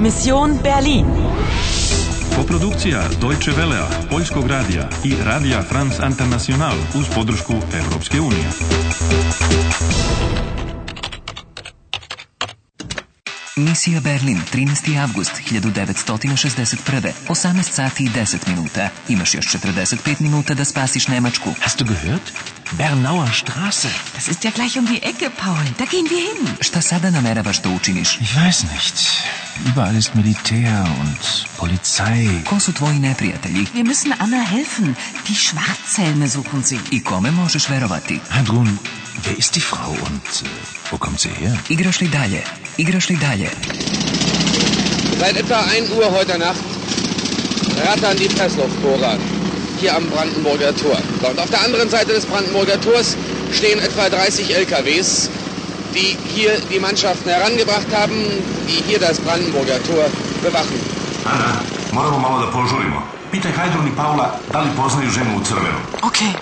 Mission Berlin. Koprodukcija Deutsche Velea, Poljskog radija i Radija France International uz podršku Europske unije. Misija Berlin, 13. avgust 1961. 18 sati i 10 minuta. Imaš još 45 minuta da spasiš Nemačku. Hast du gehört? Bernauer Straße. Das ist ja gleich um die Ecke, Paul. Da gehen wir hin. Šta sada nameravaš da učiniš? Ich weiß nicht. Überall ist Militär und Polizei. Ko su tvoji neprijatelji? Wir müssen Anna helfen. Die Schwarzhelme suchen sie. I kome možeš verovati? Hadrun, wer ist die Frau und äh, wo kommt sie her? Igraš li dalje? Igraš li dalje? Seit etwa 1 Uhr heute Nacht rattern die Pressluftbohrer hier am Brandenburger Tor. So, und auf der anderen Seite des Brandenburger Tors stehen etwa 30 LKWs, die hier die Mannschaften herangebracht haben, die hier das Brandenburger Tor bewachen. Ana, moramo malo da požurimo. Pitaj Hajdrun i Paula da li poznaju ženu u crvenom. Okay.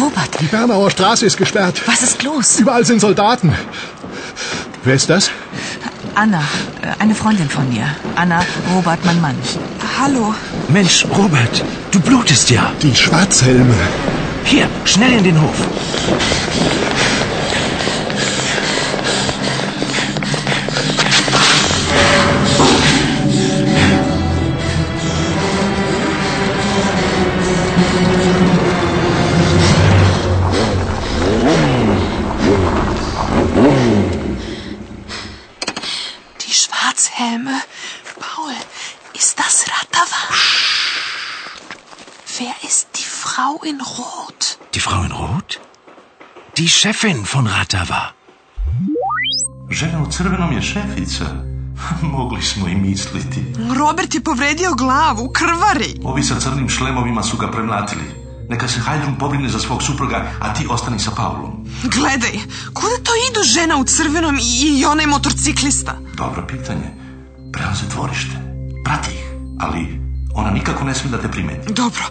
Robert, Die Bernauer Straße ist gesperrt. was ist los? Überall sind Soldaten. Wer ist das? Anna, äh, eine Freundin von mir. Anna, Robert, mein Mann. Hallo. Mensch, Robert, du blutest ja. Die Schwarzhelme. Hier, schnell in den Hof. Die Schwarzhelme. Paul, ist das Ratava? Wer ist die Frau in Rot? Die Frau in Rot? Die Chefin von Ratava. Žena u crvenom je šefica. Mogli smo i misliti. Robert je povredio glavu, krvari. Ovi sa crnim šlemovima su ga premlatili. Neka se Hajdrun pobrine za svog supruga, a ti ostani sa Paulom. Gledaj, kuda to idu žena u crvenom i, i onaj motorciklista? Dobro pitanje. Prelaze dvorište. Prati ih. Ali ona nikako ne smije da te primeti. Dobro,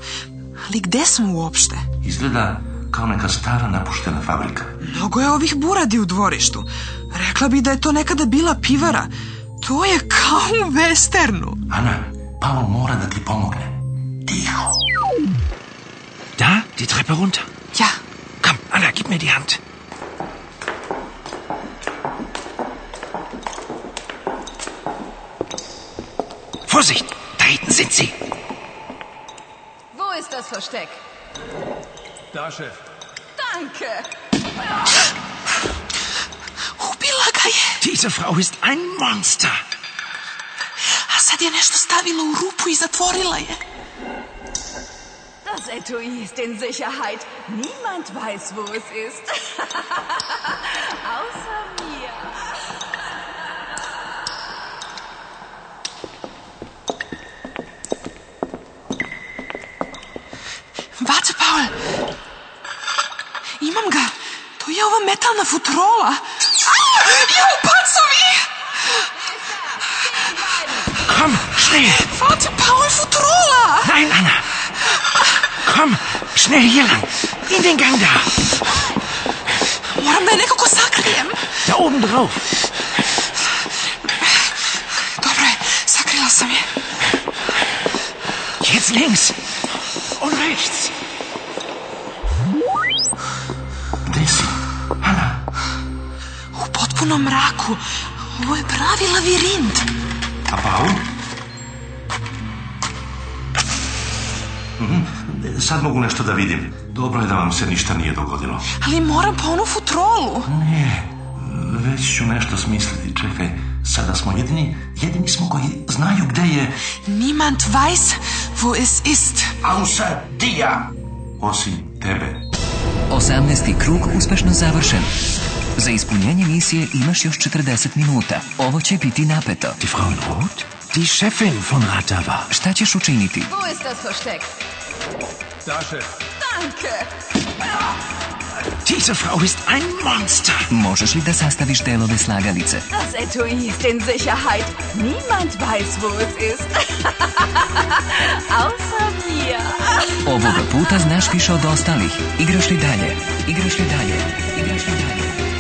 ali gde smo uopšte? Izgleda kao neka stara napuštena fabrika. Mnogo je ovih buradi u dvorištu. Rekla bi da je to nekada bila pivara. To je kao u westernu. Ana, Paul mora da ti pomogne. Tiho. Da, die Treppe runter. Ja, Komm, Anna, gib mir die Hand. Vorsicht, da hinten sind sie. Wo ist das Versteck? Da, šef. Danke. Ubila ga je, Diese Frau ist ein Monster. a sad je nešto stavila u rupu i zatvorila je. Das Etui ist in Sicherheit. Niemand weiß, wo es ist. Außer mir. Vate, Paul! Imam ga! To je ova metalna futrola! Au! Jau, pacovi! Komm, schnell. Vate, Paul, futrola! Nein, Anna. Komm, schnell hier lang. In den Gang da. Moram da je nekako sakrijem! Da oben drauf. Dobro je, sakrila sam je. Jetzt links. Und rechts. Gde si? Ana, U potpunom mraku. Ovo je pravi lavirint. a Paul? Mhm, Sad mogu nešto da vidim. Dobro je da vam se ništa nije dogodilo. Ali moram po onu futrolu. Ne, već ću nešto smisliti. Čekaj, sada smo jedini, jedini smo koji znaju gde je... Niemand weiß, wo es ist. Ausa Dija! Osim tebe. 18. krug uspešno završen. Za ispunjenje misije imaš još 40 minuta. Ovo će biti napeto. Die Frau in Rot? Die Chefin von Ratava. Šta ćeš učiniti? Wo ist das Versteck? Da, Chef. Danke. Diese Frau ist ein Monster. Možeš li da sastaviš delove slagalice? Das Etui ist in Sicherheit. Niemand weiß, wo es ist. Außer mir. Ovoga puta znaš više od ostalih. Igraš li dalje? Igraš li dalje? Igraš li dalje?